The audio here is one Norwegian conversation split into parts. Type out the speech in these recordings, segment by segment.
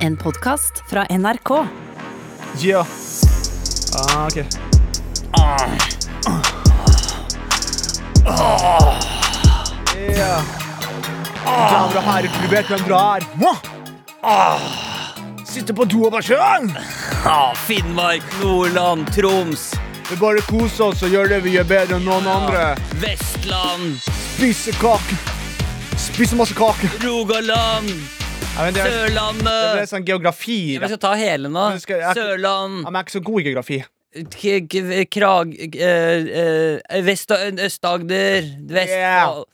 En podkast fra NRK. Yeah. Ah, ok. Yeah. Damer og herrer, du vet hvem du er. Mwah! Sitte på do og bare sjøl. Ja, Finnmark, Nordland, Troms, Vi bare koser oss og gjør det vi gjør bedre enn noen andre. Vestland, Spise kake. Spise masse kake. Rogaland, Ja, men det, er, det ble Sørlandet sånn geografi. Ja, da. Vi skal ta hele nå. Men skal jeg- Ja, Sørland, men jeg er ikke så god i geografi. K- K- Krag... eh, eh, Vest- og Øst-Agder, Vestfold,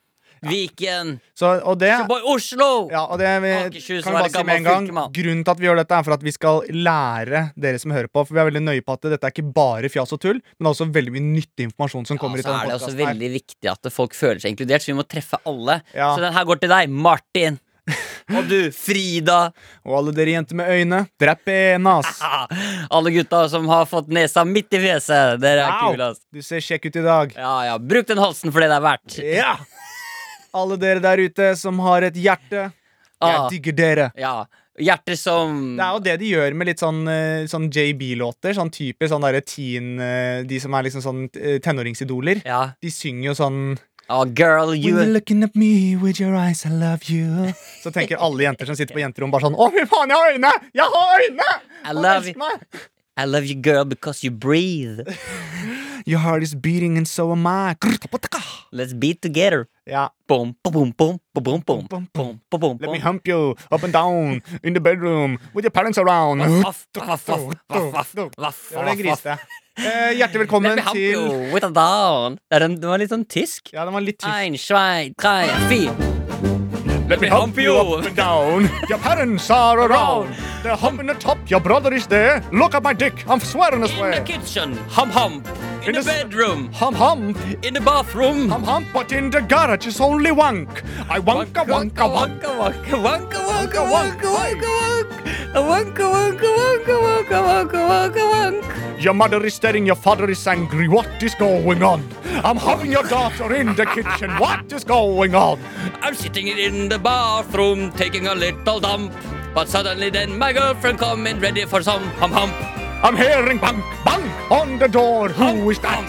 Viken Så, og det Bare Oslo! Ja, og det vi, Akershus kan vi var bare et si med en gammelt gang fylke, mann. Grunnen til at vi gjør dette, er for at vi skal lære dere som hører på. For vi er veldig nøye på at dette er ikke bare fjas og tull, men det er også veldig mye nyttig informasjon som Ja, kommer ut så av er det denne også podcasten veldig viktig at folk føler seg inkludert, så vi må treffe alle. Ja. Så den her går til deg, Martin. Og du, Frida. her. Og alle dere jenter med øyne, dere er pene, ass. Ah, Alle gutta som har fått nesa midt i fjeset. Dere er Au! kule, ass. Du ser kjekk ut i dag. Ja, ja. Bruk den halsen for det det er verdt. Ja! Alle dere der ute som har et hjerte, jeg Ah, digger dere. ja. Hjerter som Det er jo det de gjør med litt sånn, eh, sånn JB-låter. Sånn type sånn derre teen eh, De som er liksom sånn eh, tenåringsidoler. Ja. De synger jo sånn Ah, girl, When you're you looking at me with your eyes, I love you. Så tenker alle jenter som sitter på jenterom, bare sånn Å, fy faen, jeg har øyne! Jeg har øyne! I Han love elsker you. meg!» I love you, girl, because you breathe. Your heart is beating and so am I. Grr, ta, pa, ta, ka. Let's be together. Ja. Boom, boom, boom, boom, boom, boom, boom, boom, boom, Let me boom. hump you up and down in the bedroom with your parents around. Vaff, vaff, vaff, vaff, vaff, vaff, Det var det vaff, vaff. griste. Eh, hjertelig Let velkommen me help til you with a down. Er den- Den var litt sånn tysk. Ja, den var litt tyst. Ein, zwei, drei, fire. Let me hump you. up and down. Your parents are around. They're humping the top. Your brother is there. Look at my dick. I'm swearing this In the way. kitchen, hum hum. In In, the, the s- bedroom, Hum hump. in the bathroom. I'm hump, but in the garage is only wank. I wanka wanka wank. wanka wanka wanka wanka wanka wanka wanka wanka wanka wanka wanka wanka wanka Your mother is staring, your father is angry. What is going on? I'm having your daughter in the kitchen. What is going on? I'm sitting in the bathroom taking a little dump. But suddenly then my girlfriend come in ready for some hum hum. I'm hearing bang bang on the door. Who is that?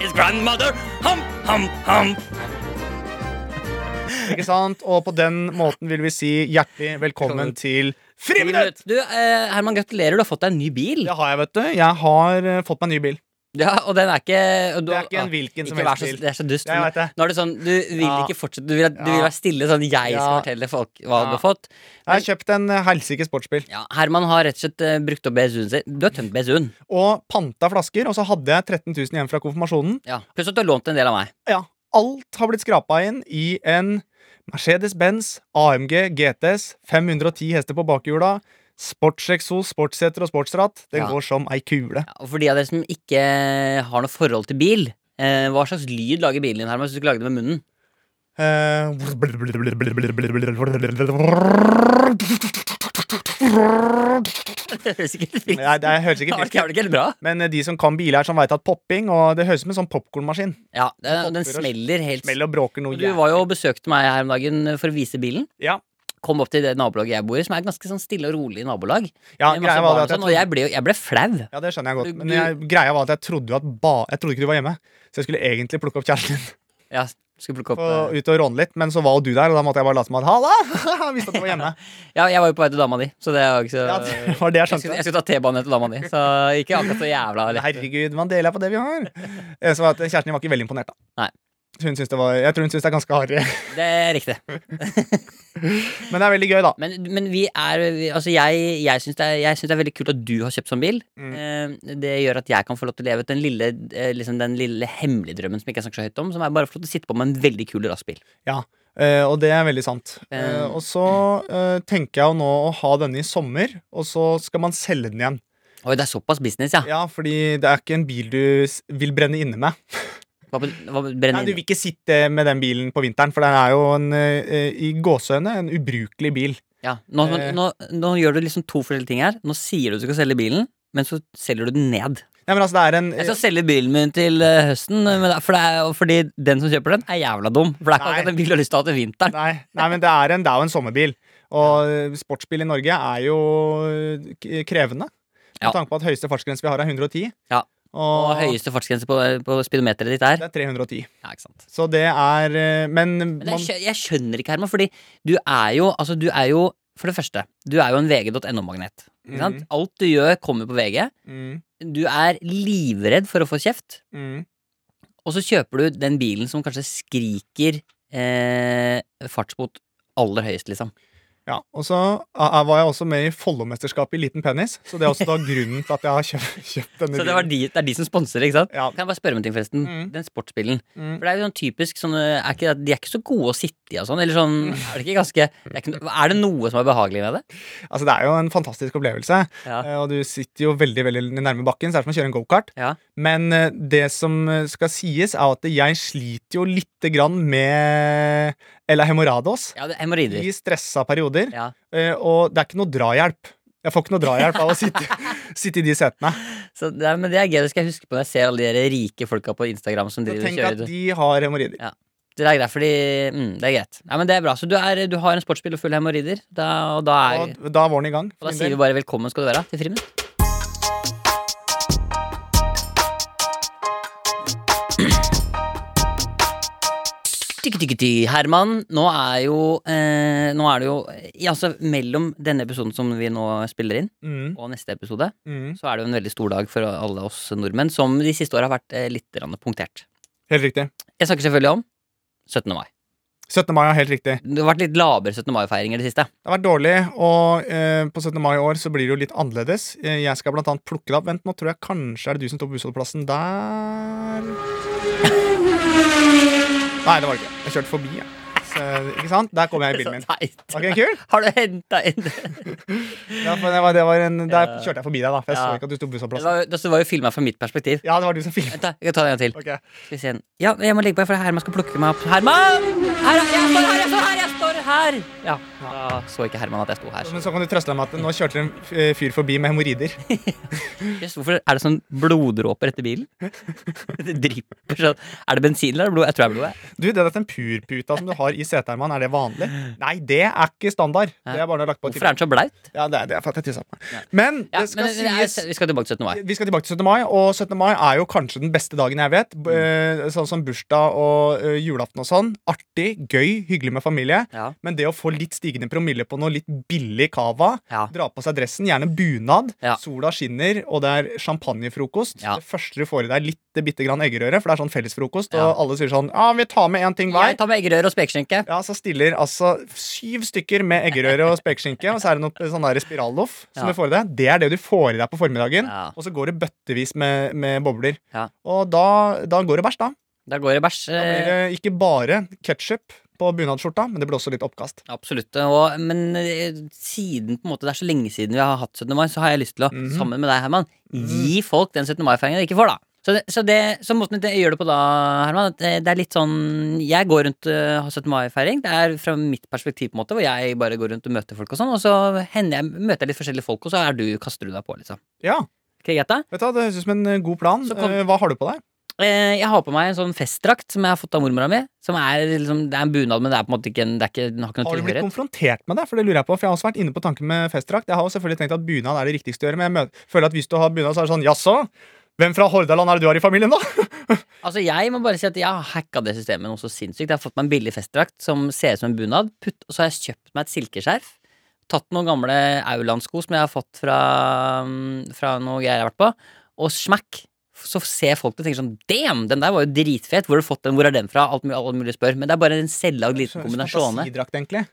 It's grandmother hum hum hum. Ikke sant? Og på den måten vil vi si hjertelig velkommen til Friminutt! Du, eh, Herman, gratulerer. Du har fått deg en ny bil. Det har jeg, vet du. Jeg har eh, fått meg ny bil. Ja, og den er ikke og du, Det ah, er ikke en hvilken som ikke helst vær så- bil. Det er så dust. Jeg vet det. Nå er det sånn, du vil Ja. ikke fortsette Du vil, at- du vil Ja. være stille, sånn jeg Ja. skal fortelle folk hva du Ja. har fått. Jeg har kjøpt en eh, helsikes sportsbil. Ja, Herman har rett og slett eh, brukt opp BSU-en sin. Du har tømt BSU-en. Og panta flasker. Og så hadde jeg 13 000 igjen fra konfirmasjonen. Ja. Pluss at du har lånt en del av meg. Ja, alt har blitt skrapa inn i en Mercedes-Benz AMG GTS 510 hester på bakhjula. Sportseksos, sportsseter og sportsratt. Den Ja. går som ei kule. Ja, og for de av dere som ikke eh, har noe forhold til bil, eh, hva slags lyd lager bilen din, Herman, hvis du skulle lage det med munnen? Eh, Det høres ikke helt fint Nei, det høres Det ikke var fint ikke- var det ikke helt bra. Men eh, de som kan biler, som veit at popping Og det høres ut som en sånn popkornmaskin. Ja, den, og den Popper og smeller helt Smell og bråker noe Og Du var jo og besøkte meg her om dagen for å vise bilen. Ja. Kom opp til det nabolaget jeg bor i, som er et ganske sånn stille og rolig nabolag. Ja, Med masse greia barn var det at jeg og sånn, og trodde, jeg ble, jo- jeg ble flau. ja, det skjønner jeg godt. Du- Men jeg, greia var at jeg trodde jo at ba, Jeg trodde ikke du var hjemme, så jeg skulle egentlig plukke opp kjæresten din. Ja, skulle plukke opp på, eh, ut og råne litt, men så var jo du der, og da måtte jeg bare late som at halla! Visste at du var hjemme. Ja, jeg var jo på vei til dama di, så det er jo ikke så Ja, det var det jeg jeg, skulle, skjønte. jeg skulle ta T-banen til dama di, så ikke akkurat så jævla lett. Herregud, man deler på det vi har. Eh, Så var at Kjæresten din var ikke veldig imponert, da. Nei. Hun syns det var, jeg tror hun syns det er ganske harry. Det er riktig. Men det er veldig gøy, da. Men, men vi er vi, Altså, jeg, jeg syns det, er- jeg syns det er veldig kult at du har kjøpt sånn bil. Mm. Eh, Det gjør at jeg kan få lov til å leve ut den lille, eh, liksom den lille hemmelige drømmen som ikke jeg snakker så høyt om, som er bare å få lov til å sitte på med en veldig kul rassbil. Eh, og det er veldig sant. Eh, Eh. og så eh, tenker jeg jo nå å ha denne i sommer, og så skal man selge den igjen. Oi, det er såpass business, ja. Ja, fordi det er ikke en bil du s- vil brenne inne med. Hva, hva Nei, brenner Du vil ikke sitte med den bilen på vinteren, for den er jo en, eh, i gåseøyne en ubrukelig bil. Ja, nå, nå, Eh. nå, nå gjør du liksom to forskjellige ting her. Nå sier du at du skal selge bilen, men så selger du den ned. Nei, men altså, det er en Jeg skal selge bilen min til eh, høsten, men det er- for det er, jo- fordi den som kjøper den, er jævla dum. For det er ikke Nei. akkurat en bil du har lyst til å ha til vinteren. Nei, nei men det er, en, det er jo en sommerbil. Og eh, sportsbil i Norge er jo eh, k- krevende. Med Ja. tanke på at høyeste fartsgrense vi har, er 110. Ja. Og, Og høyeste fartsgrense på, på speedometeret ditt er det er 310. Ja, ikke sant. Så det er eh, Men, Men jeg, man, skjø- jeg skjønner ikke, Herman, fordi du er jo Altså, du er jo For det første, du er jo en vg.no-magnet. Ikke sant? Mhm. Alt du gjør, kommer på VG. mm, Du er livredd for å få kjeft, mm, og så kjøper du den bilen som kanskje skriker eh, fartsbot aller høyest, liksom. ja. Og så eh, eh, var jeg også med i Follo-mesterskapet i liten penis, så det er også da grunnen til at jeg har kjøpt, kjøpt denne Så det, var de, det er de som sponser, ikke sant? Ja. Kan jeg bare spørre om en ting, forresten? Mhm. Den sportsbilen. Mm. For det er jo sånn typisk sånn eh, er ikke, det- De er ikke så gode å sitte i og sånn. Eller sånn Er det ikke ganske det er, ikke, no- er det noe som er behagelig med det? Altså, det er jo en fantastisk opplevelse. Ja. Eh, Og du sitter jo veldig veldig nærme bakken, så det er som å kjøre en gokart. Ja. Men eh, det som eh, skal sies, er at jeg sliter jo lite grann med Ella Hemorados ja det er Hemoroider. i stressa perioder. Ja. Eh, Og det er ikke noe drahjelp. Jeg får ikke noe drahjelp av å sitte, sitte i de setene. Så det, er- men det er gøy, det skal jeg huske på når jeg ser alle de der rike folka på Instagram som Så driver og tenk at kjører. de har hemoroider. Det er greit, fordi mm, Det er greit. Nei, men det er bra. Så du, er, du har en sportsbil og full hemoroider, da- og da er Og da var den i gang. og da for min sier vi del. bare velkommen skal du være til friminutt. Tykketykkety, Herman. Nå er jo eh, Nå er det jo ja, altså, Mellom denne episoden som vi nå spiller inn, Mm, og neste episode, mm, så er det jo en veldig stor dag for alle oss nordmenn, som de siste åra har vært eh, litt grann punktert. helt riktig. Jeg snakker selvfølgelig om 17. mai. 17. mai er helt riktig. Det har vært litt labre 17. mai-feiringer i det siste. Det har vært dårlig, og eh, på 17. mai i år så blir det jo litt annerledes. Eh, Jeg skal blant annet plukke det opp. Vent, nå tror jeg kanskje er det du som står på bussholdeplassen der Nei, det var det ikke. Jeg kjørte forbi, jeg. Så, ikke sant? Der kom jeg i bilen min. Så teit. Var ikke den kul? Har du henta inn det? Ja, for det var, det var en, der kjørte jeg forbi deg, da. For jeg Ja. så ikke at du sto på Det bussholdeplassen. var, jo- det var jo filma fra mitt perspektiv. Ja, det var du som filmet. Vent, da. Jeg kan ta det en gang til. Ok. Skal vi se en- Ja, jeg må legge på her, for det er Herman skal plukke meg opp. Herman! Her, jeg står her, jeg står her! jeg står her Ja, Da så ikke Herman at jeg sto her. Men så kan du trøste deg med at nå kjørte det en f- eh, fyr forbi med hemoroider. Jøss, Hvorfor er det sånn bloddråper etter bilen? Det drypper sånn. Er det bensin eller er det blod? Jeg tror det er blod. jeg. Du, det der tempurputa som du har i setermen, er det vanlig? Nei, det er ikke standard. Det er bare lagt på Hvorfor er den så blaut? Ja, det er, det er for at jeg tisset på meg. Men Ja, det skal men, men, jeg- sies vi skal tilbake til 17. mai. vi skal tilbake til 17. mai, og 17. mai er jo kanskje den beste dagen jeg vet. B- Mm. eh, Sånn som bursdag og eh, julaften og sånn. Artig, gøy, hyggelig med familie. Ja. Men det å få litt stigende promille på noe litt billig cava, Ja. dra på seg dressen, gjerne bunad, Ja. sola skinner, og det er champagnefrokost Ja. Det første du får i deg, er litt bitte grann eggerøre, for det er sånn fellesfrokost, Ja. og alle sier sånn Ja, vi tar med én ting hver. Jeg tar med eggerøre og spekeskinke. Ja, så stiller altså syv stykker med eggerøre og spekeskinke, og så er det noe sånn der spiralloff som Ja. du får i deg. Det er det du får i deg på formiddagen. Ja. Og så går det bøttevis med, med bobler. Ja. Og da, da går det bæsj, da. Da går det bæsj. Da blir eh, det ikke bare ketsjup på bunadsskjorta, men det blir også litt oppkast. Absolutt. Og, men eh, siden på en måte det er så lenge siden vi har hatt 17. mai, så har jeg lyst til å, Mhm. sammen med deg, Herman, gi folk den 17. mai-feiringen de ikke får, da. Så, det, så, det, så måten jeg gjør det på da, Herman, at eh, det, det er litt sånn Jeg går rundt og har 17. mai-feiring. Det er fra mitt perspektiv, på en måte, hvor jeg bare går rundt og møter folk og sånn. Og så hender jeg, møter jeg litt forskjellige folk, og så er du, kaster du deg på, liksom. Ja, Ikke greit, da? vet du, hva, Det høres ut som en eh, god plan. Så kom- Eh, Hva har du på deg? Eh, Jeg har på meg en sånn festdrakt som jeg har fått av mormora mi. Som er liksom, Det er en bunad, men det er på en måte ikke en, det er ikke, den har ikke noe Har du blitt tilhørighet. konfrontert med det? For det lurer jeg på, for jeg har også vært inne på tanken med festdrakt. Jeg har jo selvfølgelig tenkt at bunad er det riktigste å gjøre, men jeg mø- føler at hvis du har bunad, så er det sånn jaså? Hvem fra Hordaland er det du har i familien, da? Altså Jeg må bare si at jeg har hacka det systemet noe så sinnssykt. Jeg har fått meg en billig festdrakt som ser ut som en bunad. Putt, og så har jeg kjøpt meg et silkeskjerf. Tatt noen gamle Auland-sko som jeg har fått fra, mm, fra noe greier jeg har vært på. Og smakk! Så ser folk det og tenker sånn Damn, den der var jo dritfet! Hvor har du fått den? Hvor er den fra? Alt mulig, alt mulig spør. Men det er bare en selvlagd liten kombinasjon. Fantasidrakt, egentlig.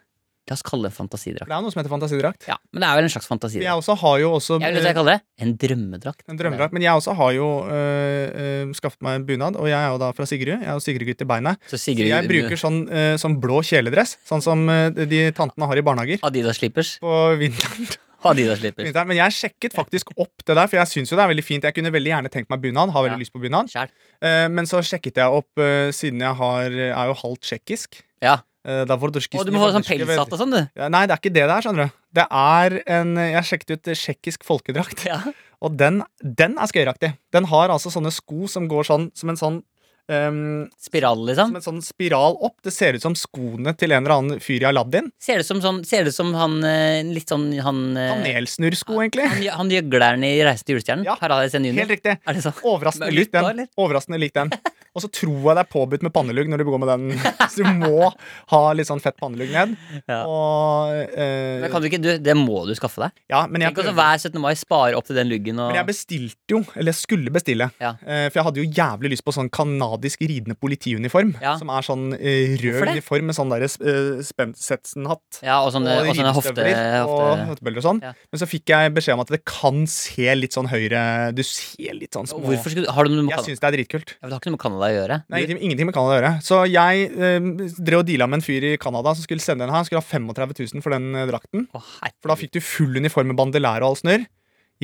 La oss kalle det en fantasidrakt. For det er jo noe som heter fantasidrakt. Ja, Men det er vel en slags Jeg fantasidrakt. også har jo også eh, Jeg vil at jeg kaller det en drømmedrakt. en drømmedrakt, men jeg også har jo øh, øh, skaffet meg en bunad, og jeg er jo da fra Sigrud. Jeg er jo Sigrud-gutt i beinet. Så Så Sigrid jeg bruker sånn, øh, sånn blå kjeledress, sånn som øh, de tantene har i barnehager Adidas slippers. på vinteren. Adidas slippers. vinteren. Men jeg sjekket faktisk opp det der, for jeg syns jo det er veldig fint. Jeg kunne veldig gjerne tenkt meg bunad, har veldig Ja. lyst på bunad. Kjært. Eh, men så sjekket jeg opp, øh, siden jeg har, er jo halvt tsjekkisk. Ja. Eh, da får Og du må få sånn pelshatt og sånn, du. Ja, Nei, det er ikke det det er, skjønner du. Det er en Jeg sjekket ut eh, tsjekkisk folkedrakt. Ja. Og den, den er skøyeraktig. Den har altså sånne sko som går sånn som en sånn ehm, Spiral, som liksom. en sånn spiral opp. Det ser ut som skoene til en eller annen fyr i Aladdin. Ser det som, sånn, ser det som han eh, litt sånn han eh, Kanelsnurrsko, egentlig. Han, han gjøgleren i Reisen til julestjernen? Ja, Harald Essen Junior? Helt riktig. Er det sånn? Overraskende Men lik lytt da, den. eller? Overraskende lik den. Og så tror jeg det er påbudt med pannelugg når du går med den. Så du må ha litt sånn fett pannelugg ned. Ja. Og Men eh, kan du ikke, du, det må du skaffe deg. Ja, men jeg Tenk også prøver. hver 17. mai spare opp til den luggen og Men jeg bestilte jo, eller jeg skulle bestille, Ja. eh, for jeg hadde jo jævlig lyst på sånn kanadisk ridende politiuniform. Ja. Som er sånn eh, rød Hvorfor det? uniform med sånn derre eh, Spensetsen-hatt. Ja, og sånne, og sånne hofte... ridestøvler og hofte hoftebøller og sånn. Ja. Men så fikk jeg beskjed om at det kan se litt sånn høyre Du ser litt sånn små Hvorfor skulle du Har du noe med Jeg Canada syns det er dritkult. Det har ikke noe med Canada å gjøre. Det er Du, ingenting, ingenting med Canada å gjøre. Så jeg eh, drev og deala med en fyr i Canada som skulle sende den her. Han skulle ha 35 000 for den eh, drakten. å, herregud. For da fikk du full uniform med bandelære og all snørr.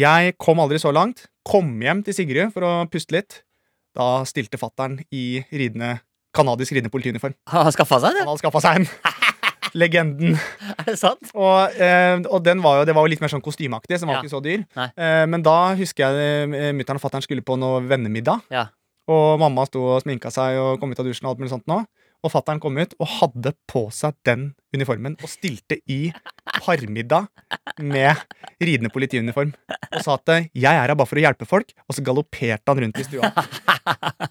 Jeg kom aldri så langt. Kom hjem til Sigrid for å puste litt. Da stilte fattern i ridende, kanadisk ridende politiuniform. Har han skaffa seg det? Han hadde skaffa seg en. Legenden. Er det sant? Og, eh, og den var jo, det var jo litt mer sånn kostymeaktig, som var Ja. ikke så dyr. Nei. Eh, men da husker jeg eh, mutter'n og fatter'n skulle på noe vennemiddag. Ja. Og mamma sto og sminka seg og kom ut av dusjen og alt mulig sånt nå. Og fatter'n kom ut og hadde på seg den uniformen og stilte i parmiddag med ridende politiuniform. Og sa at eh, 'jeg er her bare for å hjelpe folk', og så galopperte han rundt i stua.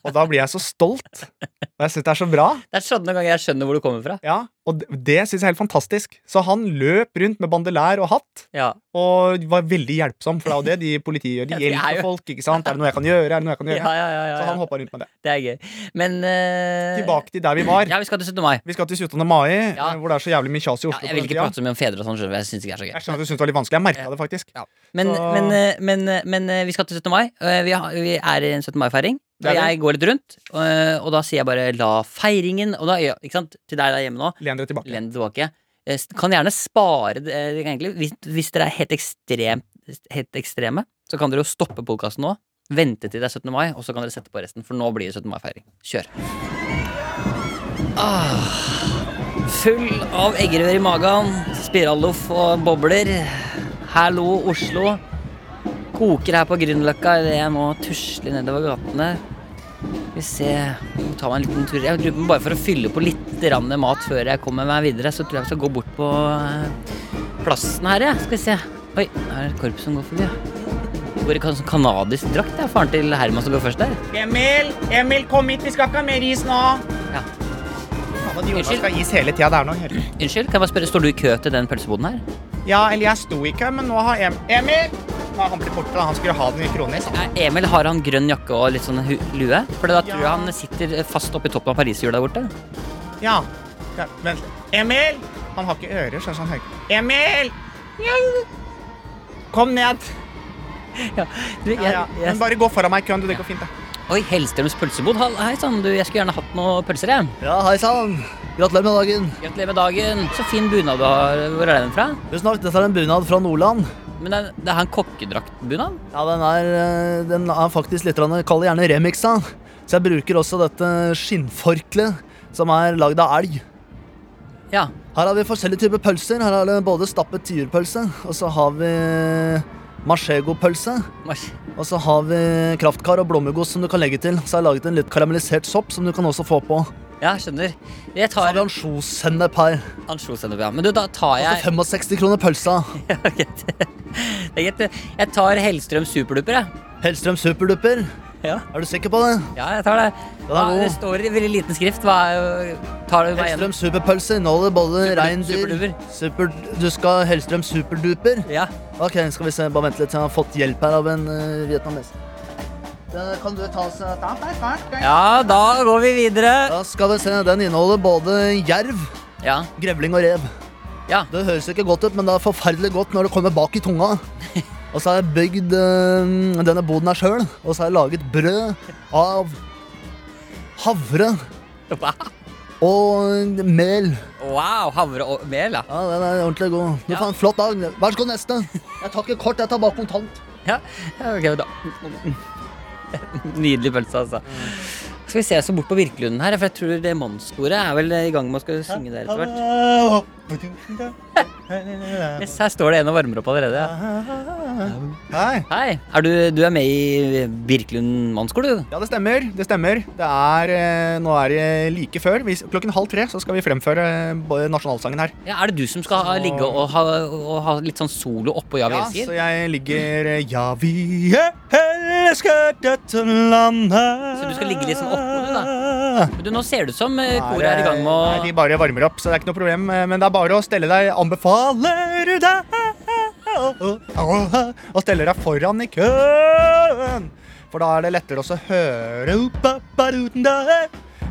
Og da blir jeg så stolt. Og jeg syns det er så bra. Det er sånne ganger jeg skjønner hvor du kommer fra. Ja, Og det- det syns jeg er helt fantastisk. Så han løp rundt med bandelær og hatt Ja. og var veldig hjelpsom, for det er jo det de i politiet gjør. Ja, De det er hjelper jo- folk. ikke sant? Er det noe jeg kan gjøre? Er det noe jeg kan Ja, gjøre? ja, ja, ja, Så han ja. hoppa rundt med det. Det er gøy. Men eh, Tilbake til der vi var. Ja, vi skal til 17. mai. Vi skal til 17. mai, Ja. eh, hvor det er så jævlig mye kjas i Ja, Oslo. jeg på vil den ikke tida. prate så mye om fedre og sånn, skjønner du, for jeg syns ikke det er så gøy. jeg skjønner at du syntes det var litt vanskelig. Jeg merka det faktisk. Men, Så- men, eh, men, eh, men, eh, vi skal til 17. mai. eh, Vi, har, vi er i en 17. mai-feiring. Og Det er det. jeg går litt rundt, eh, og da sier jeg bare 'la feiringen' Og da, ja, ikke sant, til deg der hjemme nå, Len dere tilbake. len deg tilbake. Eh, s- Kan gjerne spare det, eh, egentlig. Hvis, hvis dere er helt, ekstrem, helt ekstreme, så kan dere jo stoppe podkasten nå. Vente til det er 17. mai, og så kan dere sette på resten, for nå blir det 17. mai-feiring. Kjør. Ah, full av eggerør i magen, spiralloff og bobler. Hallo, Oslo. Koker her på Grünerløkka idet jeg må tusle nedover gatene. Vi ser Ta meg en liten tur. Jeg lurer på om Bare for å fylle på litt grann med mat før jeg kommer meg videre, så tror jeg vi skal gå bort på eh, plassen her, jeg. Skal vi se. Oi, her er det et korps som går forbi. ja. Går i kan- sånn kanadisk drakt. Det er faren til Herman som går først der. Emil! Emil, kom hit! Vi skal ikke ha mer is nå! Ja. Faen, de ordene Unnskyld. skal is hele tida. Det er noe helt Unnskyld, kan jeg bare spørre, står du i kø til den pølseboden her? Ja, eller jeg sto i kø, men nå har Em- Emil Nå er han blitt borte. da. Han skulle ha den i liksom. kronis. Er Emil, har han grønn jakke og litt sånn hu lue? For da Ja. tror jeg han sitter fast oppi toppen av Pariserhjulet der borte. Ja. ja. Vent. Emil! Han har ikke ører, så er sånn høy. Emil! Kom ned. Ja, du, jeg, Ja, ja. jeg, Men bare gå foran meg i køen. du. Det går fint, det. Oi, Hellstrøms pølsebod. Hall- Hei sann, du, jeg skulle gjerne hatt noen pølser, jeg. Ja, hei sann! Gratulerer med dagen. Gratulerer med dagen. Så fin bunad du har. Hvor er den fra? Tusen takk, dette er en bunad fra Nordland. Men det, det er en kokkedraktbunad? Ja, Den er, eh, den er faktisk litt grann- Kall det gjerne remixa. Så jeg bruker også dette skinnforkleet, som er lagd av elg. Ja. Her har vi forskjellige typer pølser. Her er det både stappet tyrpølse, og så har vi manchego-pølse. Mars. Og så har vi kraftkar og blåmuggost som du kan legge til. Så har jeg laget en litt karamellisert sopp som du kan også få på. Ja, skjønner. Jeg Så har vi tar ansjossennep her. ansjossennep, ja. Men du, da tar Koster jeg 65 kroner pølsa. Det er greit. Jeg tar Hellstrøms superduper, jeg. Hellstrøm superdupper. Ja. Er du sikker på det? ja, jeg tar det. Den er Hva- god. det står i veldig liten skrift. Hva er Tar du meg Hellstrøm igjen? superpølse inneholder både Superdu- reindyr superduper. super, Du skal ha Hellstrøm superduper? Ja. Ok, skal vi se. Bare vent litt til jeg har fått hjelp her av en uh, vietnameser. Den Kan du ta oss eh, ja, da går vi videre. Da skal vi se. Den inneholder både jerv, Ja. grevling og rev. Ja. Det høres ikke godt ut, men det er forferdelig godt når det kommer bak i tunga. Og så har jeg bygd eh, denne boden her sjøl, og så har jeg laget brød av havre Hva? og mel. Wow, havre og mel, ja. Ja, den er ordentlig god. Du Ja. får en flott dag. Vær så god, neste. Jeg tar ikke kort, jeg tar bare kontant. Ja, ja, ok, da. Nydelig pølse, altså. Skal vi se oss bort på Virkelunden her, for jeg tror det mannskoret er vel i gang med å skal synge der etter hvert. Yes, her står det en og varmer opp allerede. Ja. Hei. Hei. Er du, du er med i Birkelund mannskole, du? Ja, det stemmer. Det stemmer. Det er, eh, nå er det like før. Vi, klokken halv tre så skal vi fremføre eh, b- nasjonalsangen her. Ja, er det du som skal ha, ligge og ha, og ha litt sånn solo oppå Ja, vi Ja, så elsker? jeg ligger eh, Ja, vi elsker dette landet. Så du skal ligge litt sånn oppå det, da? Men du, nå ser det ut som eh, koret er i gang med Nei, de å bare varmer opp, så det er ikke noe problem. eh, Men det er bare å stelle deg Anbefaler deg Og stelle deg foran i køen. For da er det lettere også å høre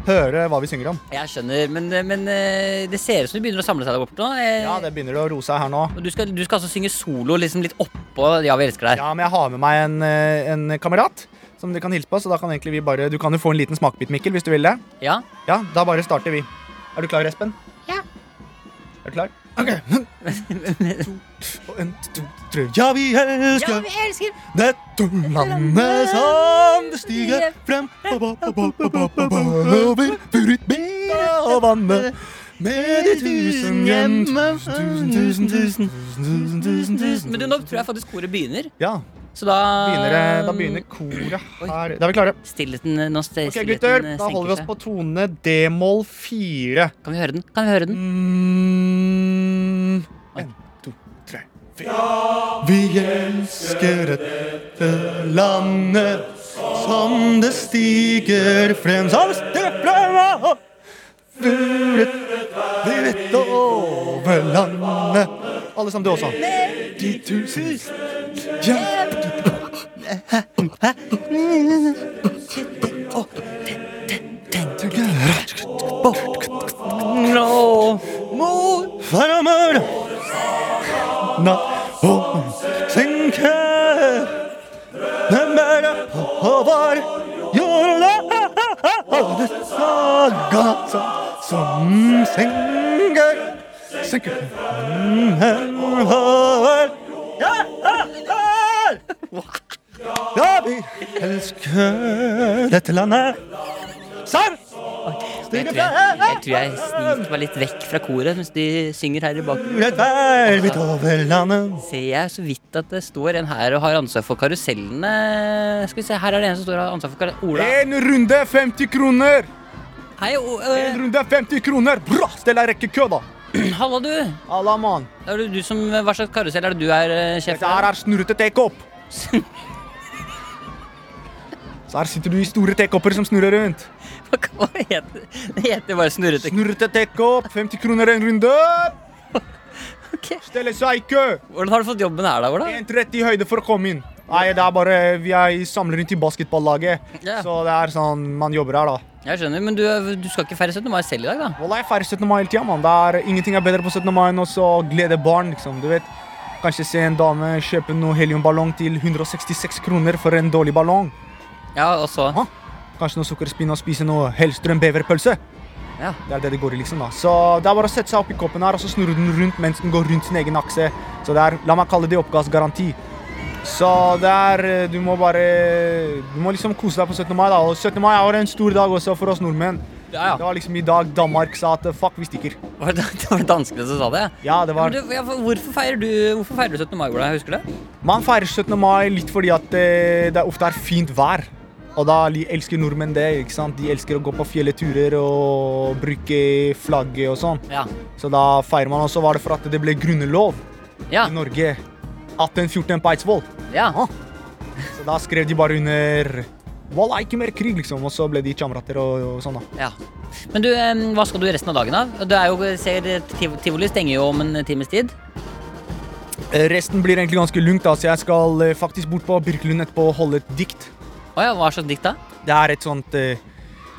Høre hva vi synger om. Jeg skjønner, men, men eh, det ser ut som du begynner å samle seg der borte nå. eh, Ja, det begynner å roe seg her nå. Og du skal, du skal altså synge solo liksom litt oppå Ja, vi elsker deg. Ja, men jeg har med meg en, eh, en kamerat som du kan hilse på. Så da kan egentlig vi bare Du kan jo få en liten smakebit, Mikkel, hvis du vil det. Ja? Ja, da bare starter vi. Er du klar, Espen? Ja. Er du klar? Og en, to, tre. Ja, vi elsker Ja, vi elsker dette landet som det stiger frem over furubyra og vannet. Med de tusen hjem Tusen, tusen, tusen, tusen, tusen, tusen. Men du, nå tror jeg faktisk koret begynner. Ja, Så da begynner, det- da begynner koret her. Da er vi klare. Stillheten eh, nå st- Ok, stillheten, gutter, eh, da holder vi oss senker på tone d-moll 4. seg. Kan vi høre den? Kan vi høre den? Mm. Oi. En, to, tre, fire. Vi elsker dette landet som det stiger frem Som stiger frem av Furet vidt over landet Alle sammen, du også. De tusen hjem mot fremmer. Na, og tenke Hvem er det på var jorda saga som synger Synger over Ja, ja, vi elsker dette landet. Sang! Jeg tror jeg, jeg, tror jeg sniker meg litt vekk fra koret mens de synger her i bakgrunnen. Rett vær midt over landet. Ser jeg så vidt at det står en her og har ansvar for karusellene. Skal vi se, Her er det en som står og har ansvar for karusellen. Ola. En runde 50 kroner! Hei, o, eh, En runde 50 kroner! Bra! Stell deg rekke kø, da! halla, du. Alla mann. Er det du som, hva slags karusell er det du er eh, sjef Dette her er snurrete tekopp. Så her sitter du i store tekopper som snurrer rundt. Hva heter det? Det heter bare snurrete Snurrete tekopp, 50 kroner en runde. Ok. Stelle seg i kø. Hvordan har du fått jobben her, da? Ola? 1,30 i høyde for å komme inn. Nei, det er bare Vi er i- samler inn til basketballaget, Ja. så det er sånn man jobber her, da. Jeg skjønner, men du, du skal ikke feire 17. mai selv i dag, da? Wallah, jeg feirer 17. mai hele tida, mann. Det er- Ingenting er bedre på 17. mai enn også å glede barn, liksom. Du vet. Kanskje se en dame kjøpe noe heliumballong til 166 kroner for en dårlig ballong. Ja, og så Hå? Kanskje noe sukkerspinn og spise noe Hellstrøm beverpølse. Ja. Det er det det går i, liksom. da Så det er bare å sette seg opp i koppen her, og så snurrer den rundt mens den går rundt sin egen akse. Så det er La meg kalle det oppgassgaranti. Så det er eh, Du må bare Du må liksom kose deg på 17. mai, da. Og 17. mai er jo en stor dag også for oss nordmenn. Ja, ja. Det var liksom i dag Danmark sa at eh, fuck, vi stikker. Var det, det var danskene som sa det? Ja, det var Men du, ja, for- hvorfor, feirer du, hvorfor feirer du 17. mai, Ola? Husker du det? Man feirer 17. mai litt fordi at eh, det ofte er fint vær. Og da li- elsker nordmenn det. ikke sant? De elsker å gå på fjelleturer og bruke flagget og sånn. Ja. Så da feirer man også var det for at det ble grunnlov Ja. i Norge 1814 på Eidsvoll. ja. Hå? Så da skrev de bare under Voilà, ikke mer krig, liksom. Og så ble de kamerater og, og sånn, da. ja. Men du, em, hva skal du resten av dagen, da? Du er jo, ser, tiv Tivoli stenger jo om en times tid. Eh, Resten blir egentlig ganske lugnt, da, så jeg skal eh, faktisk bort på Birkelund etterpå og holde et dikt. Å ja, hva slags dikt, da? Det er et sånt eh,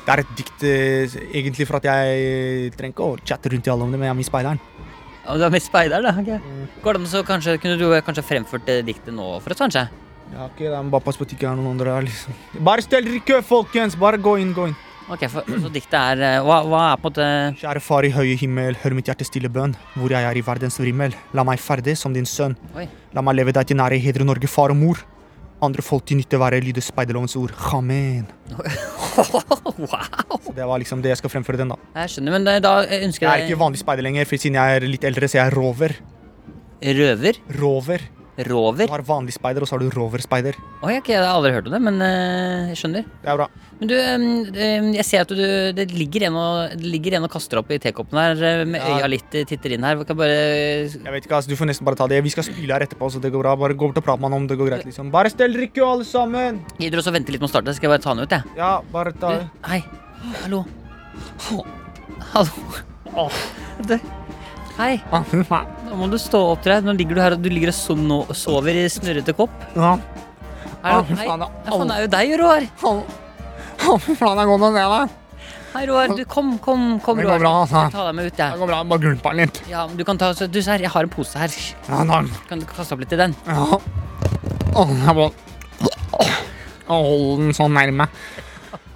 Det er et dikt eh, egentlig for at jeg eh, trenger ikke å chatte rundt i alle om det, men jeg er med i Speideren. Ja, Du er med speider, da? ok. Går det an så kanskje, Kunne du kanskje fremført det diktet nå for oss, kanskje? Ja, ok, da, men bare pass på at det ikke er noen andre her, liksom. Bare stell dere i kø, folkens! Bare gå inn, gå inn. Ok, for, Så diktet er eh, hva, hva er på en måte Kjære far i høye himmel, hør mitt hjertes stille bønn. Hvor jeg er i verdens vrimmel, la meg ferdig som din sønn. Oi. La meg leve deg til nære, hedre Norge, far og mor. Andre folk til nytte være, lyder speiderlovens ord. Amen. Wow! Så det var liksom det jeg skal fremføre den, da. Jeg skjønner, men eh, da ønsker Jeg er jeg ikke vanlig speider lenger, for siden jeg er litt eldre, så jeg er rover. Røver? Rover. Du Rover. har vanlig speider, og så har du roverspeider. Oi, ok, jeg har aldri hørt om det, men eh, jeg skjønner. Det er bra. Men du, em, em, jeg ser at du, det ligger en og, det ligger en og kaster opp i tekoppen her, eh, med Ja. øya litt eh, titter inn her. Vi kan bare Jeg vet ikke, altså, Du får nesten bare ta det. Vi skal spyle her etterpå, så det går bra. Bare gå bort og prate med han om det går greit. liksom. Bare stell drikke, alle sammen! Gidder du også vente litt med å starte? Skal jeg bare ta den ut, jeg? Ja, bare ta Du, hei. Hallo. Å, Hallo. Du. Hei. Nå må du stå opp til deg. Nå ligger du her og du ligger og so- nå- sover i snørrete kopp. Ja. Hallo, Hei. Ja, faen, det er jo deg, Roar. Faen, jeg går med deg. Hei, Roar. Du, kom, kom, kom, Det går Roar. bra, altså. Ta deg med ut, Det jeg. går bra. Bare gulp han litt. Ja, men du kan ta så- Du, se her. Jeg har en pose her. Ja, da. Kan du kaste opp litt i den? Ja. Åh, jeg må Hold den sånn nærme.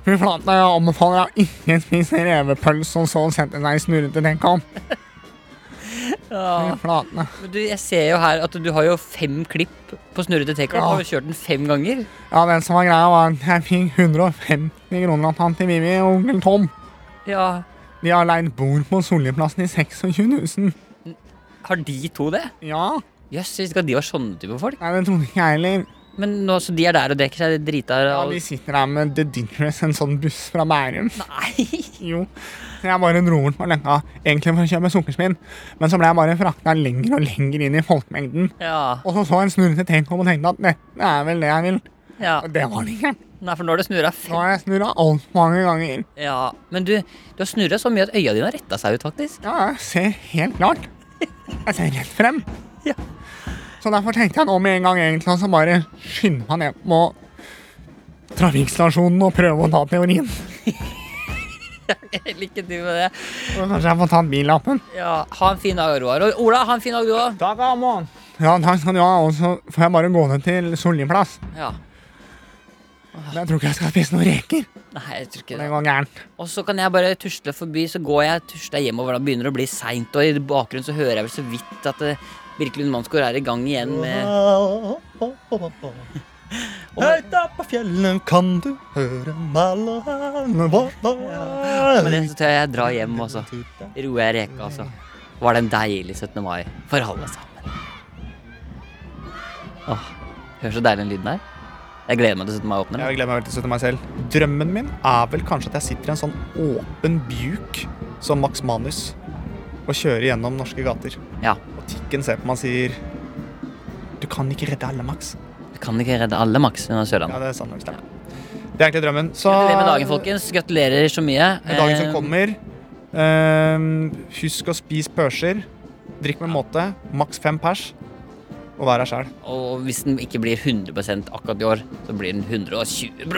Fy flate, jeg anbefaler deg å ikke spise revepølse og så sette deg i snurrete tenkamp. Fy Ja. flate. Men du, jeg ser jo her at du har jo fem klipp på snurrete takeoff. Ja. Har jo kjørt den fem ganger. Ja, det som var greia, var at jeg fikk 150 kroner av tante Vivi og onkel Tom. Ja. De har leid bord på Solliplassen i 26 000. Har de to det? Ja, Jøss, yes, skal de være sånne type folk? nei, det trodde ikke jeg heller. Men nå, så de er der og drikker seg drita? Ja, og- vi sitter her med The Dingress, en sånn buss fra Bærum. Nei! Jo, så jeg bare dro bort på lønka, egentlig for å kjøpe sukkersminn, men så ble jeg bare frakta lenger og lenger inn i folkemengden. Ja, Og så så en snurrete tenk om og tenkte at dette er vel det jeg vil. ja. Og det var det ikke. Nei, for nå har du snurra Nå fem har jeg snurra altfor mange ganger. Ja, men du, du har snurra så mye at øya dine har retta seg ut, faktisk. Ja, jeg ser helt klart. Jeg ser rett frem. Ja. Så derfor tenkte jeg nå med en gang egentlig å så bare skynde meg ned på trafikkstasjonen og prøve å ta teorien. Lykke til med det. Og kanskje jeg får tatt billappen. Ja, Ha en fin dag, Roar. Og Ola, ha en fin dag, du òg. Takk, Amon. Ja, takk skal du ha. Og så får jeg bare gå ned til Solli plass. Ja. Men jeg tror ikke jeg skal spise noen reker. Nei, jeg tror Det ikke det. går gærent. Og så kan jeg bare tusle forbi, så går jeg tusler jeg hjemover. Da begynner det å bli seint, og i bakgrunnen så hører jeg vel så vidt at eh, Birkelund Mannsgaard er i gang igjen med Høyt opp på fjellene kan du høre malerne Men det så tror jeg jeg drar hjem, altså. Roer jeg reka, altså. Var det en deilig 17. mai for alle sammen. Åh, Hører så deilig den lyden her. Jeg gleder meg til 17. mai åpner. Jeg gleder meg veldig til å støtte meg selv. Drømmen min er vel kanskje at jeg sitter i en sånn åpen buk som Max Manus og kjører gjennom norske gater. Ja. Og Tikken ser på meg og sier Du kan ikke redde alle, Max. Du kan ikke redde alle, Max. Under Ja, Sørlandet. det er sant nok. Det er Det er egentlig drømmen. Så Gratulerer med dagen, folkens. Gratulerer så mye. Med dagen Eh, som kommer. Ehm, husk å spise pølser. Drikk med måte. Maks fem pers. Og vær deg sjæl. Og hvis den ikke blir 100 akkurat i år, så blir den 120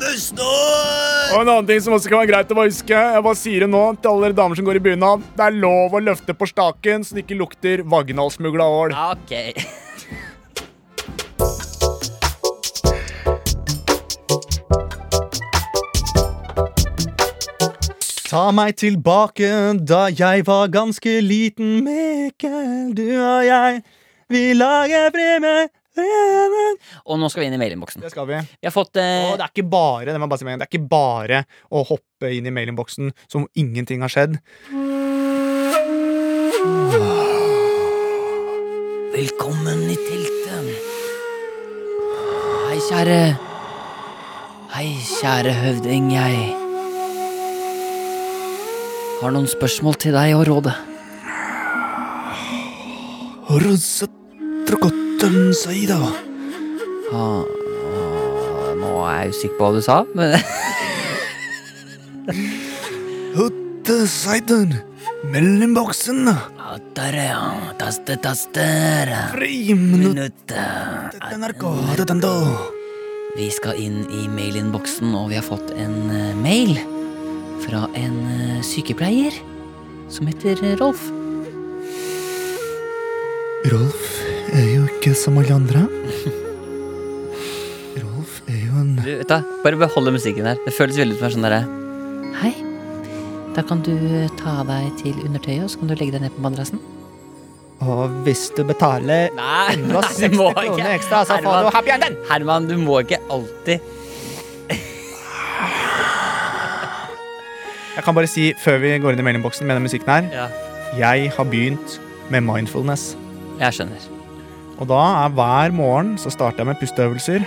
neste år! Og en annen ting som også kan være greit å bare huske, jeg bare sier det nå til alle dere damer som går i bunad, det er lov å løfte på staken så det ikke lukter vaginalsmugla ål. Ja, Ok. Ta meg tilbake da jeg var ganske liten, Mikkel, du og jeg. Vi lager premie. Og nå skal vi inn i mailinnboksen. Det skal vi. Vi har fått eh, Og det er ikke bare det, må jeg bare si med en gang, det er ikke bare å hoppe inn i mailinnboksen som om ingenting har skjedd. Velkommen i teltet. Hei, kjære. Hei, kjære høvding, jeg har noen spørsmål til deg og rådet. Ah, ah, nå er jeg usikker på hva du sa, men Mellomboksen. Atter, ja. Taste, taster. Friminutt. Minuttet. NRK. dødendå. Vi skal inn i mailinnboksen, og vi har fått en eh, mail fra en eh, sykepleier som heter eh, Rolf. Rolf er jo ikke som alle andre. Rolf er jo en Du, vet du, hva? bare beholde musikken her. Det føles veldig ut som en sånn derre Hei. Da kan du eh, ta av deg til undertøyet, og så kan du legge deg ned på madrassen. Og hvis du betaler Nei, 160 kroner ekstra, så får du Herman, happy ending! Herman, du må ikke alltid Jeg kan bare si før vi går inn i mailinnboksen med den musikken her, Ja, jeg har begynt med mindfulness. jeg skjønner. Og da er hver morgen så starter jeg med pusteøvelser.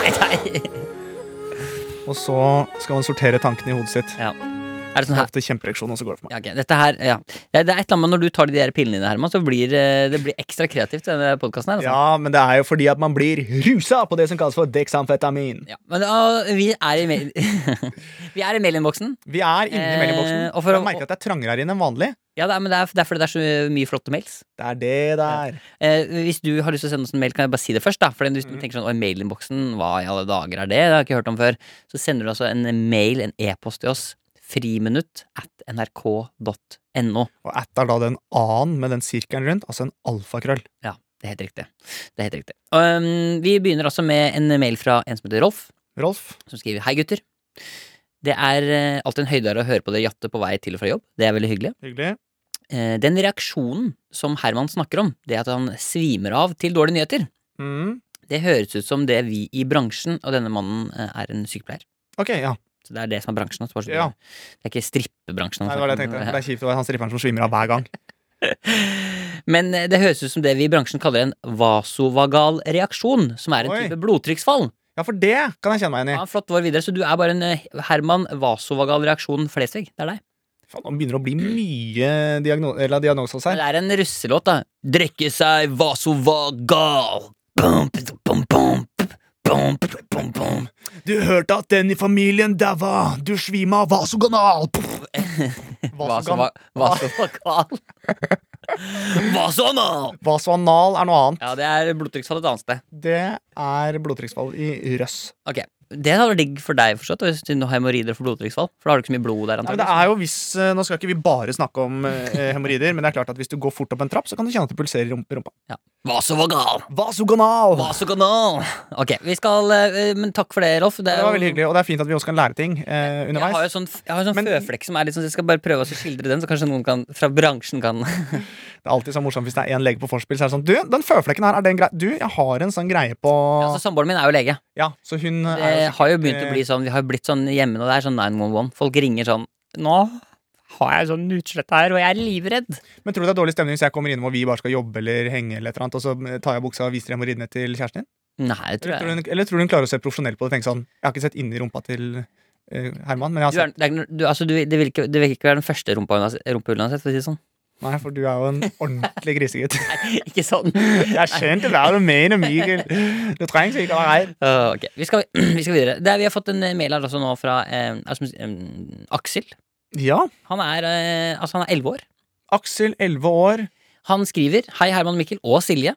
Nei, nei. Og så skal man sortere tankene i hodet sitt. Ja. Er det sånn Det er her? ofte kjempereaksjon, og så går det for meg. Ja, ok. Dette her, ja. Det er det er et eller annet med når du tar de der pillene dine, Herman, så blir eh, det blir ekstra kreativt. denne podcasten her. Altså. Ja, men det er jo fordi at man blir rusa på det som kalles for deksamfetamin. Ja, Men ah, vi er i mail... Vi er i mailinnboksen. Vi er inne i Eh, mailinnboksen. og for å- Jeg merker at det er trangere her inne enn vanlig. Ja, det er, men det er, det er fordi det er så mye flotte mails. Det er det det er. Eh, hvis du har lyst til å sende oss en mail, kan jeg bare si det først. da For Mm. hvis du tenker sånn, «Oi, mailinnboksen, hva i alle dager er det? Det har jeg ikke hørt om før. Så sender du altså en mail, en e-post til oss. Friminutt at nrk.no. Og at er da den a-en med den sirkelen rundt, altså en alfakrøll. Ja, det er helt riktig. Det er helt riktig. Um, vi begynner altså med en mail fra en som heter Rolf, Rolf, som skriver Hei, gutter. Det er eh, alltid en høydare å høre på dere jatte på vei til og fra jobb. Det er veldig hyggelig. hyggelig. Eh, den reaksjonen som Herman snakker om, det at han svimer av til dårlige nyheter, Mm. det høres ut som det vi i bransjen, og denne mannen eh, er en sykepleier. Ok, ja. Så det er det som er bransjen hans. bare så du- Ja. Det er ikke strippebransjen. han Nei, det var det jeg snakker om. tenkte. Det er kjipt å være han stripperen som svimer av hver gang. Men eh, det høres ut som det vi i bransjen kaller en vasovagal reaksjon, som er en Oi. type blodtrykksfall. Ja, for det kan jeg kjenne meg igjen i. Ja, flott vår videre, så du er bare en eh, Herman vasovagal reaksjon Flesvig. Det er deg. Faen, nå begynner det å bli mye diagno eller diagnoser hos her. Det er en russelåt, da. Drikke seg vasovagal. Bum, bum, bum, bum, bum, bum, bum, bum. Du hørte at den i familien daua! Du svima av vasoganal! Vasogan. Vasovagal. Vasovagal. Vasoanal. Vasoanal er noe annet. Ja, det er blodtrykksfall et annet sted. Det er blodtrykksfall i røss. Ok, Det hadde vært digg for deg, forstått, hvis du nå har hemoroider og får blodtrykksfall. For da har du ikke så mye blod der. Nei, men det antageligvis. er jo hvis, eh, Nå skal ikke vi bare snakke om eh, hemoroider, men det er klart at hvis du går fort opp en trapp, så kan du kjenne at det pulserer i rump- rumpa. Vasovagal. Vasoganal! Vasoganal. Ok, vi skal eh, Men takk for det, Rolf. Det Det er jo- var veldig hyggelig, og det er fint at vi også kan lære ting eh, Jeg har jo underveis. sånn, jeg har jo sånn Men- føflekk som er litt sånn, så jeg skal bare prøve å skildre den, så kanskje noen kan, fra bransjen kan Det er alltid så morsomt hvis det er én lege på vorspiel, så er det sånn Du, den føflekken her, er den grei? Du, jeg har en sånn greie på Altså, Samboeren min er jo lege. Ja, så hun eh, Det er jo har jo begynt å bli sånn, Vi har jo blitt sånn hjemme nå, det er sånn 911. Folk ringer sånn Nå har jeg sånn utslett her, og jeg er livredd. Men tror du det er dårlig stemning hvis jeg kommer innom og vi bare skal jobbe eller henge, eller et eller annet, og så eh, tar jeg buksa og viser hemoroidene til kjæresten din? Nei, det tror Eller tror, jeg du hun, eller tror du hun klarer å se profesjonell på det og tenke sånn Jeg har ikke sett inni rumpa til eh, Herman, men jeg har du er, sett det, er, ikke- du, altså, du, det, vil ikke, det vil ikke være den første rumpa hun har se- rumpehullet hun har sett, for å si det sånn. Nei, for du er jo en ordentlig grisegutt. ikke sånn. Jeg skjønte hva du mener, Mikkel. Du trenger ikke å være redd. Åh, ok, vi skal, vi skal videre. Det, er- vi har fått en eh, mail her også nå fra eh, Asmus- eh, Aksel. Ja. Han er eh, altså, han er 11 år. Aksel, 11 år. Han skriver Hei, Herman, Mikkel og Silje.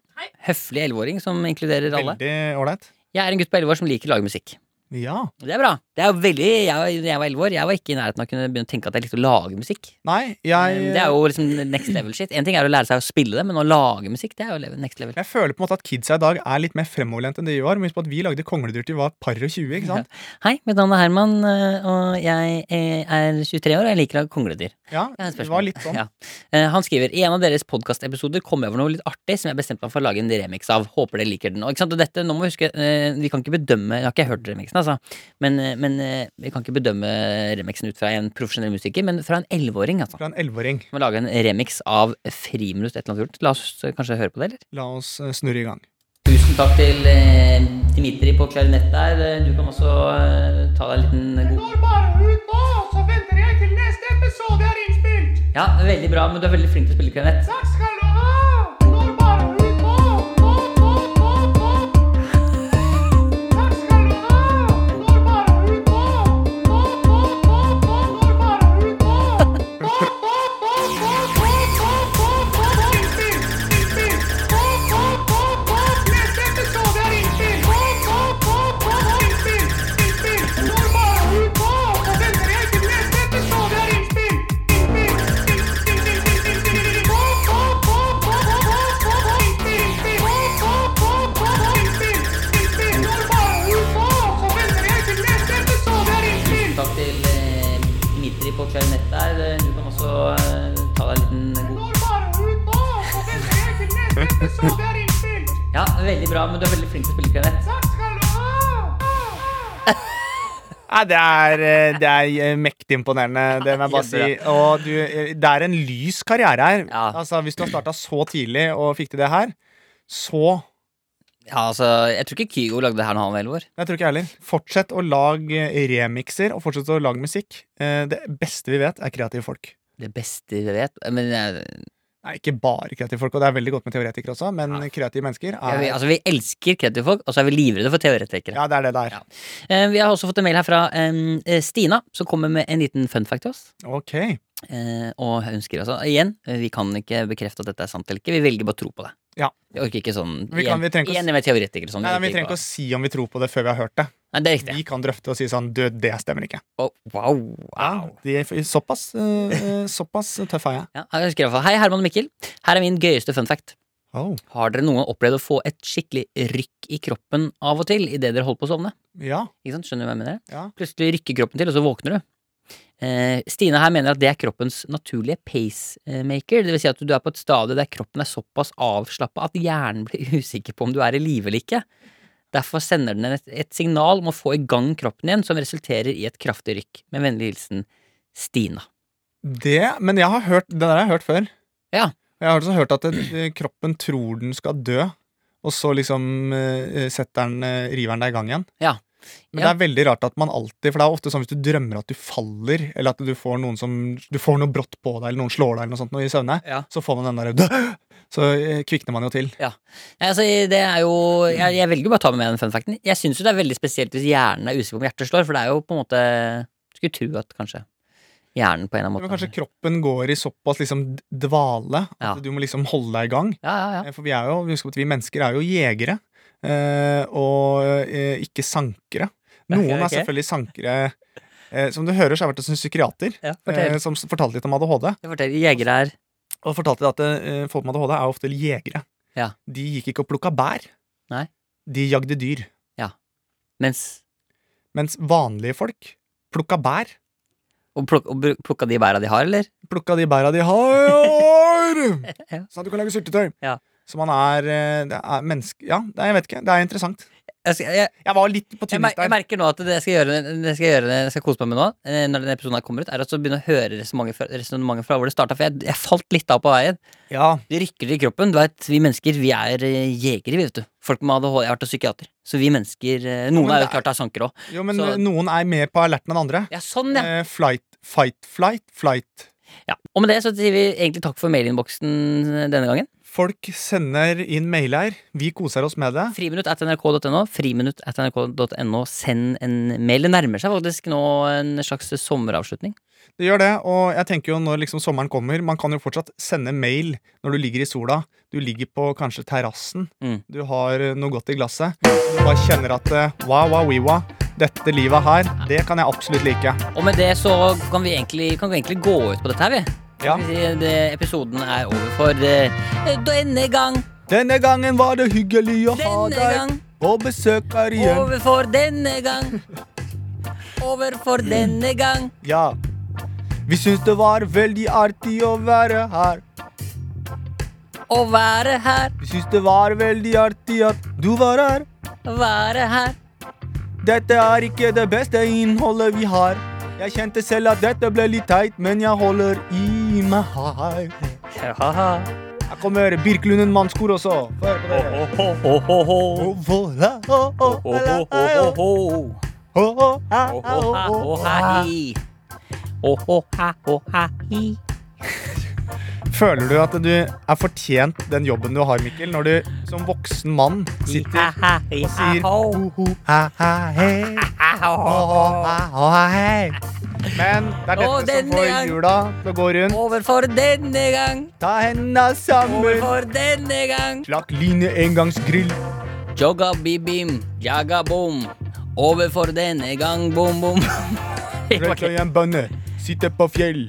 Høflig 11-åring som inkluderer alle. Veldig ålreit. Jeg er en gutt på 11 år som liker å lage musikk. Ja. Det er bra. Det er jo veldig, jeg, jeg var 11 år, jeg var ikke i nærheten av å kunne begynne å tenke at jeg likte å lage musikk. Nei, jeg Det er jo liksom next level shit. En ting er å lære seg å spille det, men å lage musikk, det er jo le- next level. jeg føler på en måte at kidsa i dag er litt mer fremoverlent enn de var. Men husk på at vi lagde Kongledyr til vi var par og 20, ikke sant? Hei, mitt navn er Herman, øh, og jeg eh, er 23 år, og jeg liker å lage kongledyr. Ja, Jeg har et det spørsmål. var litt sånn. Ja. Eh, Han skriver i en av deres podkastepisoder kom jeg over noe litt artig som jeg bestemte meg for å lage en remix av. Håper dere liker den. Og, ikke sant? og dette, nå må vi huske, eh, vi kan ikke bedømme Jeg har ikke hørt remixen, altså. Men, eh, men eh, vi kan ikke bedømme remixen ut fra en profesjonell musiker, men fra en 11-åring, altså. Fra en 11-åring. Kan vi lage en remix av Friminutt et eller annet kult? La oss eh, kanskje høre på det, eller? La oss eh, snurre i gang. Tusen takk til eh, Dimitri på klarinett der. Eh, Du kan også eh, ta deg en liten god går bare ut nå, så venter jeg til neste episode er innspilt. Ja, veldig bra, men du er veldig flink til å spille klarinett. Takk skal du ha. Går bare ut nå. Nå, nå, nå, nå. Takk skal du ha. Går bare ut nå. Nå, nå, nå, nå. Går bare ut nå. Nå, nå, nå, nå, nå, nå, nå, nå. Nå, innspilt. Innspilt. Nå, nå, nå, nå. Neste episode er innspilt. Nå, nå, nå, nå. Nå, innspilt. Innspilt. Går bare ut nå, så venter jeg til neste episode er innspilt. Innspilt. Innspilt. Tusen takk til eh, Dimitri på klarinett der. Eh, Du kan også eh, ta deg en liten god Ja, veldig bra, men du er veldig flink til å spille klarinett. Takk skal du ha! Nei, det er, eh, det er eh, mektig imponerende, det må jeg bare si. Og du, eh, det er en lys karriere her. Ja. Altså, Hvis du har starta så tidlig og fikk til det her, så Ja, altså, Jeg tror ikke Kygo lagde det her når han var elleve år. Nei, Jeg tror ikke jeg heller. Fortsett å lage remikser, og fortsett å lage musikk. Eh, Det beste vi vet, er kreative folk. Det beste vi vet Men eh, jeg, Nei, ikke bare kreative folk, og det er veldig godt med teoretikere også, men kreative mennesker jeg, er vi- altså, vi elsker kreative folk, og så er vi livredde for teoretikere. Ja, det er det det er. Ja. Eh, vi har også fått en mail her fra em, eh, Stina, som kommer med en liten fun fact til oss. Ok. Eh, og hun skriver altså igjen eh, vi kan ikke bekrefte at dette er sant eller ikke. Vi velger bare å tro på det. Ja. Vi orker ikke sånn Vi kan- vi trenger ikke å s- igjen med teoretikere. Sånn, Nei, nei, Vi trenger ikke å si om vi tror på det før vi har hørt det. Nei, det er riktig. Vi kan drøfte og si sånn Du, det stemmer ikke. Å, wow, wow. De, såpass, eh, eh, såpass tøff er jeg. Ja, jeg skrev i hvert fall, Hei, Herman og Mikkel. Her er min gøyeste fun fact. Oh. Har dere noen gang opplevd å få et skikkelig rykk i kroppen av og til idet dere holder på å sovne? Ja. Ikke sant? Skjønner du hva jeg mener? Ja. Plutselig rykker kroppen til, og så våkner du. Eh, Stina her mener at det er kroppens naturlige pacemaker. Det vil si at du er på et stadie der kroppen er såpass avslappa at hjernen blir usikker på om du er i live eller ikke. Derfor sender den et, et signal om å få i gang kroppen igjen, som resulterer i et kraftig rykk. Med vennlig hilsen Stina. Det, men jeg har hørt, det der har jeg hørt før. Ja. Jeg har også hørt at eh, kroppen tror den skal dø, og så liksom eh, setter den, eh, river den deg i gang igjen. Ja. Men Ja. det er veldig rart at man alltid For det er ofte sånn hvis du drømmer at du faller, eller at du får noen som Du får noe brått på deg, eller noen slår deg eller noe sånt noe i søvne, Ja. så får man den der «Dø!» Så eh, kvikner man jo til. Nei, altså, det er jo, jeg, jeg velger jo bare å ta med meg den funfacten. Jeg syns jo det er veldig spesielt hvis hjernen er usikker på om hjertet slår, for det er jo på en måte Skulle tro at kanskje hjernen på en eller annen Men måte kanskje kroppen går i såpass liksom dvale at Ja. du må liksom holde deg i gang. Ja, ja, ja. Eh, For vi er jo, husk at vi mennesker er jo jegere, eh, og eh, ikke sankere. Noen er Ok. selvfølgelig sankere eh, Som du hører, så har jeg vært hos en psykiater ja eh, fortell. som s- fortalte litt om ADHD. Jeg forteller, Jegere er Og fortalte at eh, folk med ADHD er ofte jegere. Ja. De gikk ikke og plukka bær. Nei. De jagde dyr. mens Mens vanlige folk plukka bær. Og, pluk, og bru- plukka de bæra de har, eller? Plukka de bæra de har, Ja. sånn at du kan lage syltetøy. Ja. Så man er, eh, det er menneske... Ja, det er, jeg vet ikke. Det er interessant. Jeg, skal, jeg, Jeg var litt på jeg, tynnis mer- jeg der. merker nå at det jeg skal gjøre, det jeg skal, gjøre, det jeg skal kose meg med nå, eh, når denne episoden her kommer ut, er å begynne å høre resonnementet fra, resonnementet fra hvor det starta. For jeg, jeg falt litt av på veien. Ja, Det rykker i kroppen. Du vet, Vi mennesker vi er eh, jegere, vi, vet du. Folk med ADHD. Jeg har vært hos psykiater. Så vi mennesker eh, Noen men er det jo er- klart det er sanker òg. Jo, men Så- eh, noen er mer på alerten enn andre. Ja, sånn, ja. Eh, flight, fight, flight, flight. ja. Og med det så sier vi egentlig takk for mailinnboksen denne gangen. Folk sender inn mailer. Vi koser oss med det. Friminutt at nrk.no. Friminutt at nrk.no. Send en mail. Det nærmer seg faktisk nå en slags sommeravslutning. Det gjør det, og jeg tenker jo når liksom sommeren kommer Man kan jo fortsatt sende mail når du ligger i sola. Du ligger på kanskje terrassen. Mm. Du har eh, noe godt i glasset. Du bare kjenner at eh, wow, wow, wiwa. Dette livet her, det kan jeg absolutt like. Og med det så kan vi egentlig, kan vi egentlig gå ut på dette her, vi. Ja. Skal vi si, det, episoden er over for eh, denne gang. Denne gangen var det hyggelig å ha Denne deg gang. på besøk her igjen. Overfor denne gang. Overfor denne gang. Ja. Vi syns det var veldig artig å være her. Å være her, Vi syns det var veldig artig at du var her. være her. Dette er ikke det beste innholdet vi har. Jeg kjente selv at dette ble litt teit, men jeg holder i meg her. Her kommer Birkelunden mannskor også. Få høre på dere. Å, voilà, å, å, la, ei, å, å, å, æ, æ, å, å, æ. Føler du at du er fortjent den jobben du har, Mikkel, når du som voksen mann sitter og sier ho, ho, ha, ha, hei, ho, ho, ha, ha, hei. Men det er Å, dette som denne får gang. hjula til å gå rundt. Overfor denne gang, Ta henda sammen. overfor denne gang. Slakk line engangsgrill. Jogga bibim, jaga bom. Overfor denne gang, bom, bom. Røyka jernbane, sitter på fjell,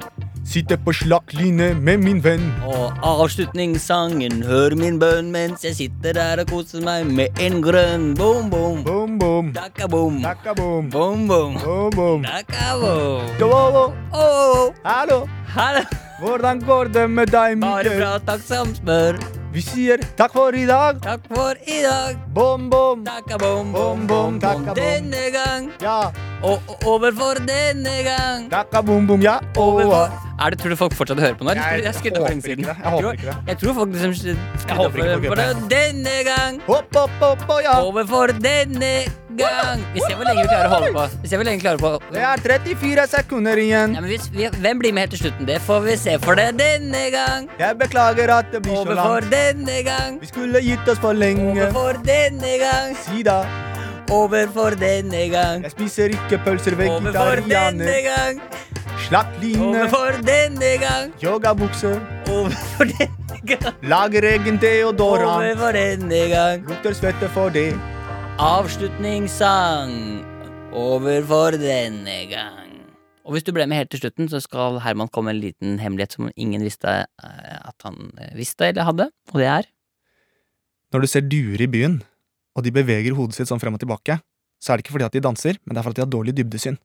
sitter på slakk line med min venn. Og avslutningssangen, hør min bønn mens jeg sitter der og koser meg med en grønn bom, bom. Boom, boom, Dakka bom, takka boom, bom, bom. boom, boom. Dakka bom. Hallo, Åh, åh, åh. hallo, Her er hvordan går det med deg, bare Mikkel? fra takk som spør. Vi sier takk for i dag. Takk for i dag. Bom, bom. Takka bom, Bom, bom, takka bom. Denne gang. Ja. Og og overfor denne gang. Takka bom, bom, ja. Åh, Overfor. ah. Er det, tror du folk fortsatt hører på nå? eller? Jeg Jeg skrudde opp for håper lenge ikke siden. det. Jeg håper Jo, ikke det. Jeg tror folk liksom skrudde håper ikke opp for- folk for gjør det. Denne gang. Hopp, hopp, hopp, og ja. Overfor denne gang. Vi ser hvor lenge vi klarer å holde på. Vi ser hvor lenge vi klarer på. Det er 34 sekunder igjen. Ja, men hvis vi, hvem blir med helt til slutten? Det får vi se for det denne gang. Jeg beklager at det blir så Overfor langt. denne gang. Vi skulle gitt oss for lenge. Overfor denne gang. Si da. Overfor denne gang. Jeg spiser ikke pølser Overfor denne vegetarianer. gang. Slapp line. Overfor denne gang. Yogabukse. Overfor denne gang. Lager egen deodorant. Overfor denne gang. Lukter svette for det. Avslutningssang. Overfor denne gang. Og hvis du ble med helt til slutten, så skal Herman komme med en liten hemmelighet som ingen visste eh, at han eh, visste eller hadde, og det er Når du ser duer i byen, og de beveger hodet sitt sånn frem og tilbake, så er det ikke fordi at de danser, men det er fordi de har dårlig dybdesyn.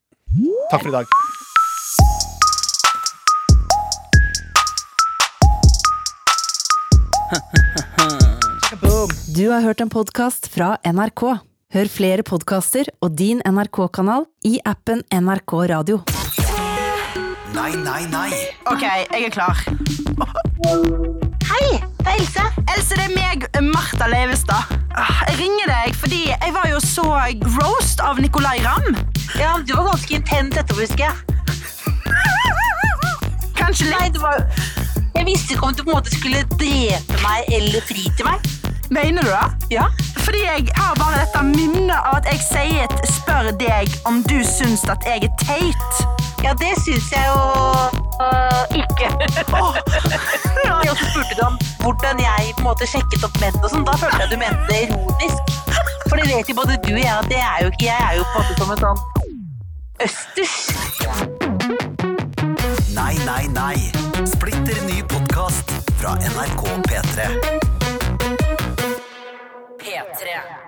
Takk for i dag. Du har hørt en podkast fra NRK. Hør flere podkaster og din NRK-kanal i appen NRK Radio. Nei, nei, nei. Ok, jeg er klar. Hei, det er Else. Else, det er meg, Martha Leivestad. Ah, Jeg ringer deg fordi jeg var jo så roast av Nicolai Ramm. Ja, du var ganske intent etterpå, husker jeg. Kanskje litt. Nei, det var... Jeg visste ikke om du på en måte skulle drepe meg eller fri til meg. Mener du det? Ja. Fordi jeg har bare dette minnet av at jeg sier et spør deg om du syns at jeg er teit. Ja, det syns jeg jo øh, ikke. Og så spurte du om hvordan jeg på en måte sjekket opp menn og sånn. Da følte jeg du mente det ironisk. For det vet jo både du og jeg at det er jo ikke Jeg er jo på en måte som en sånn østers. Nei, nei, nei. Splitter ny podkast fra NRK P3. P3.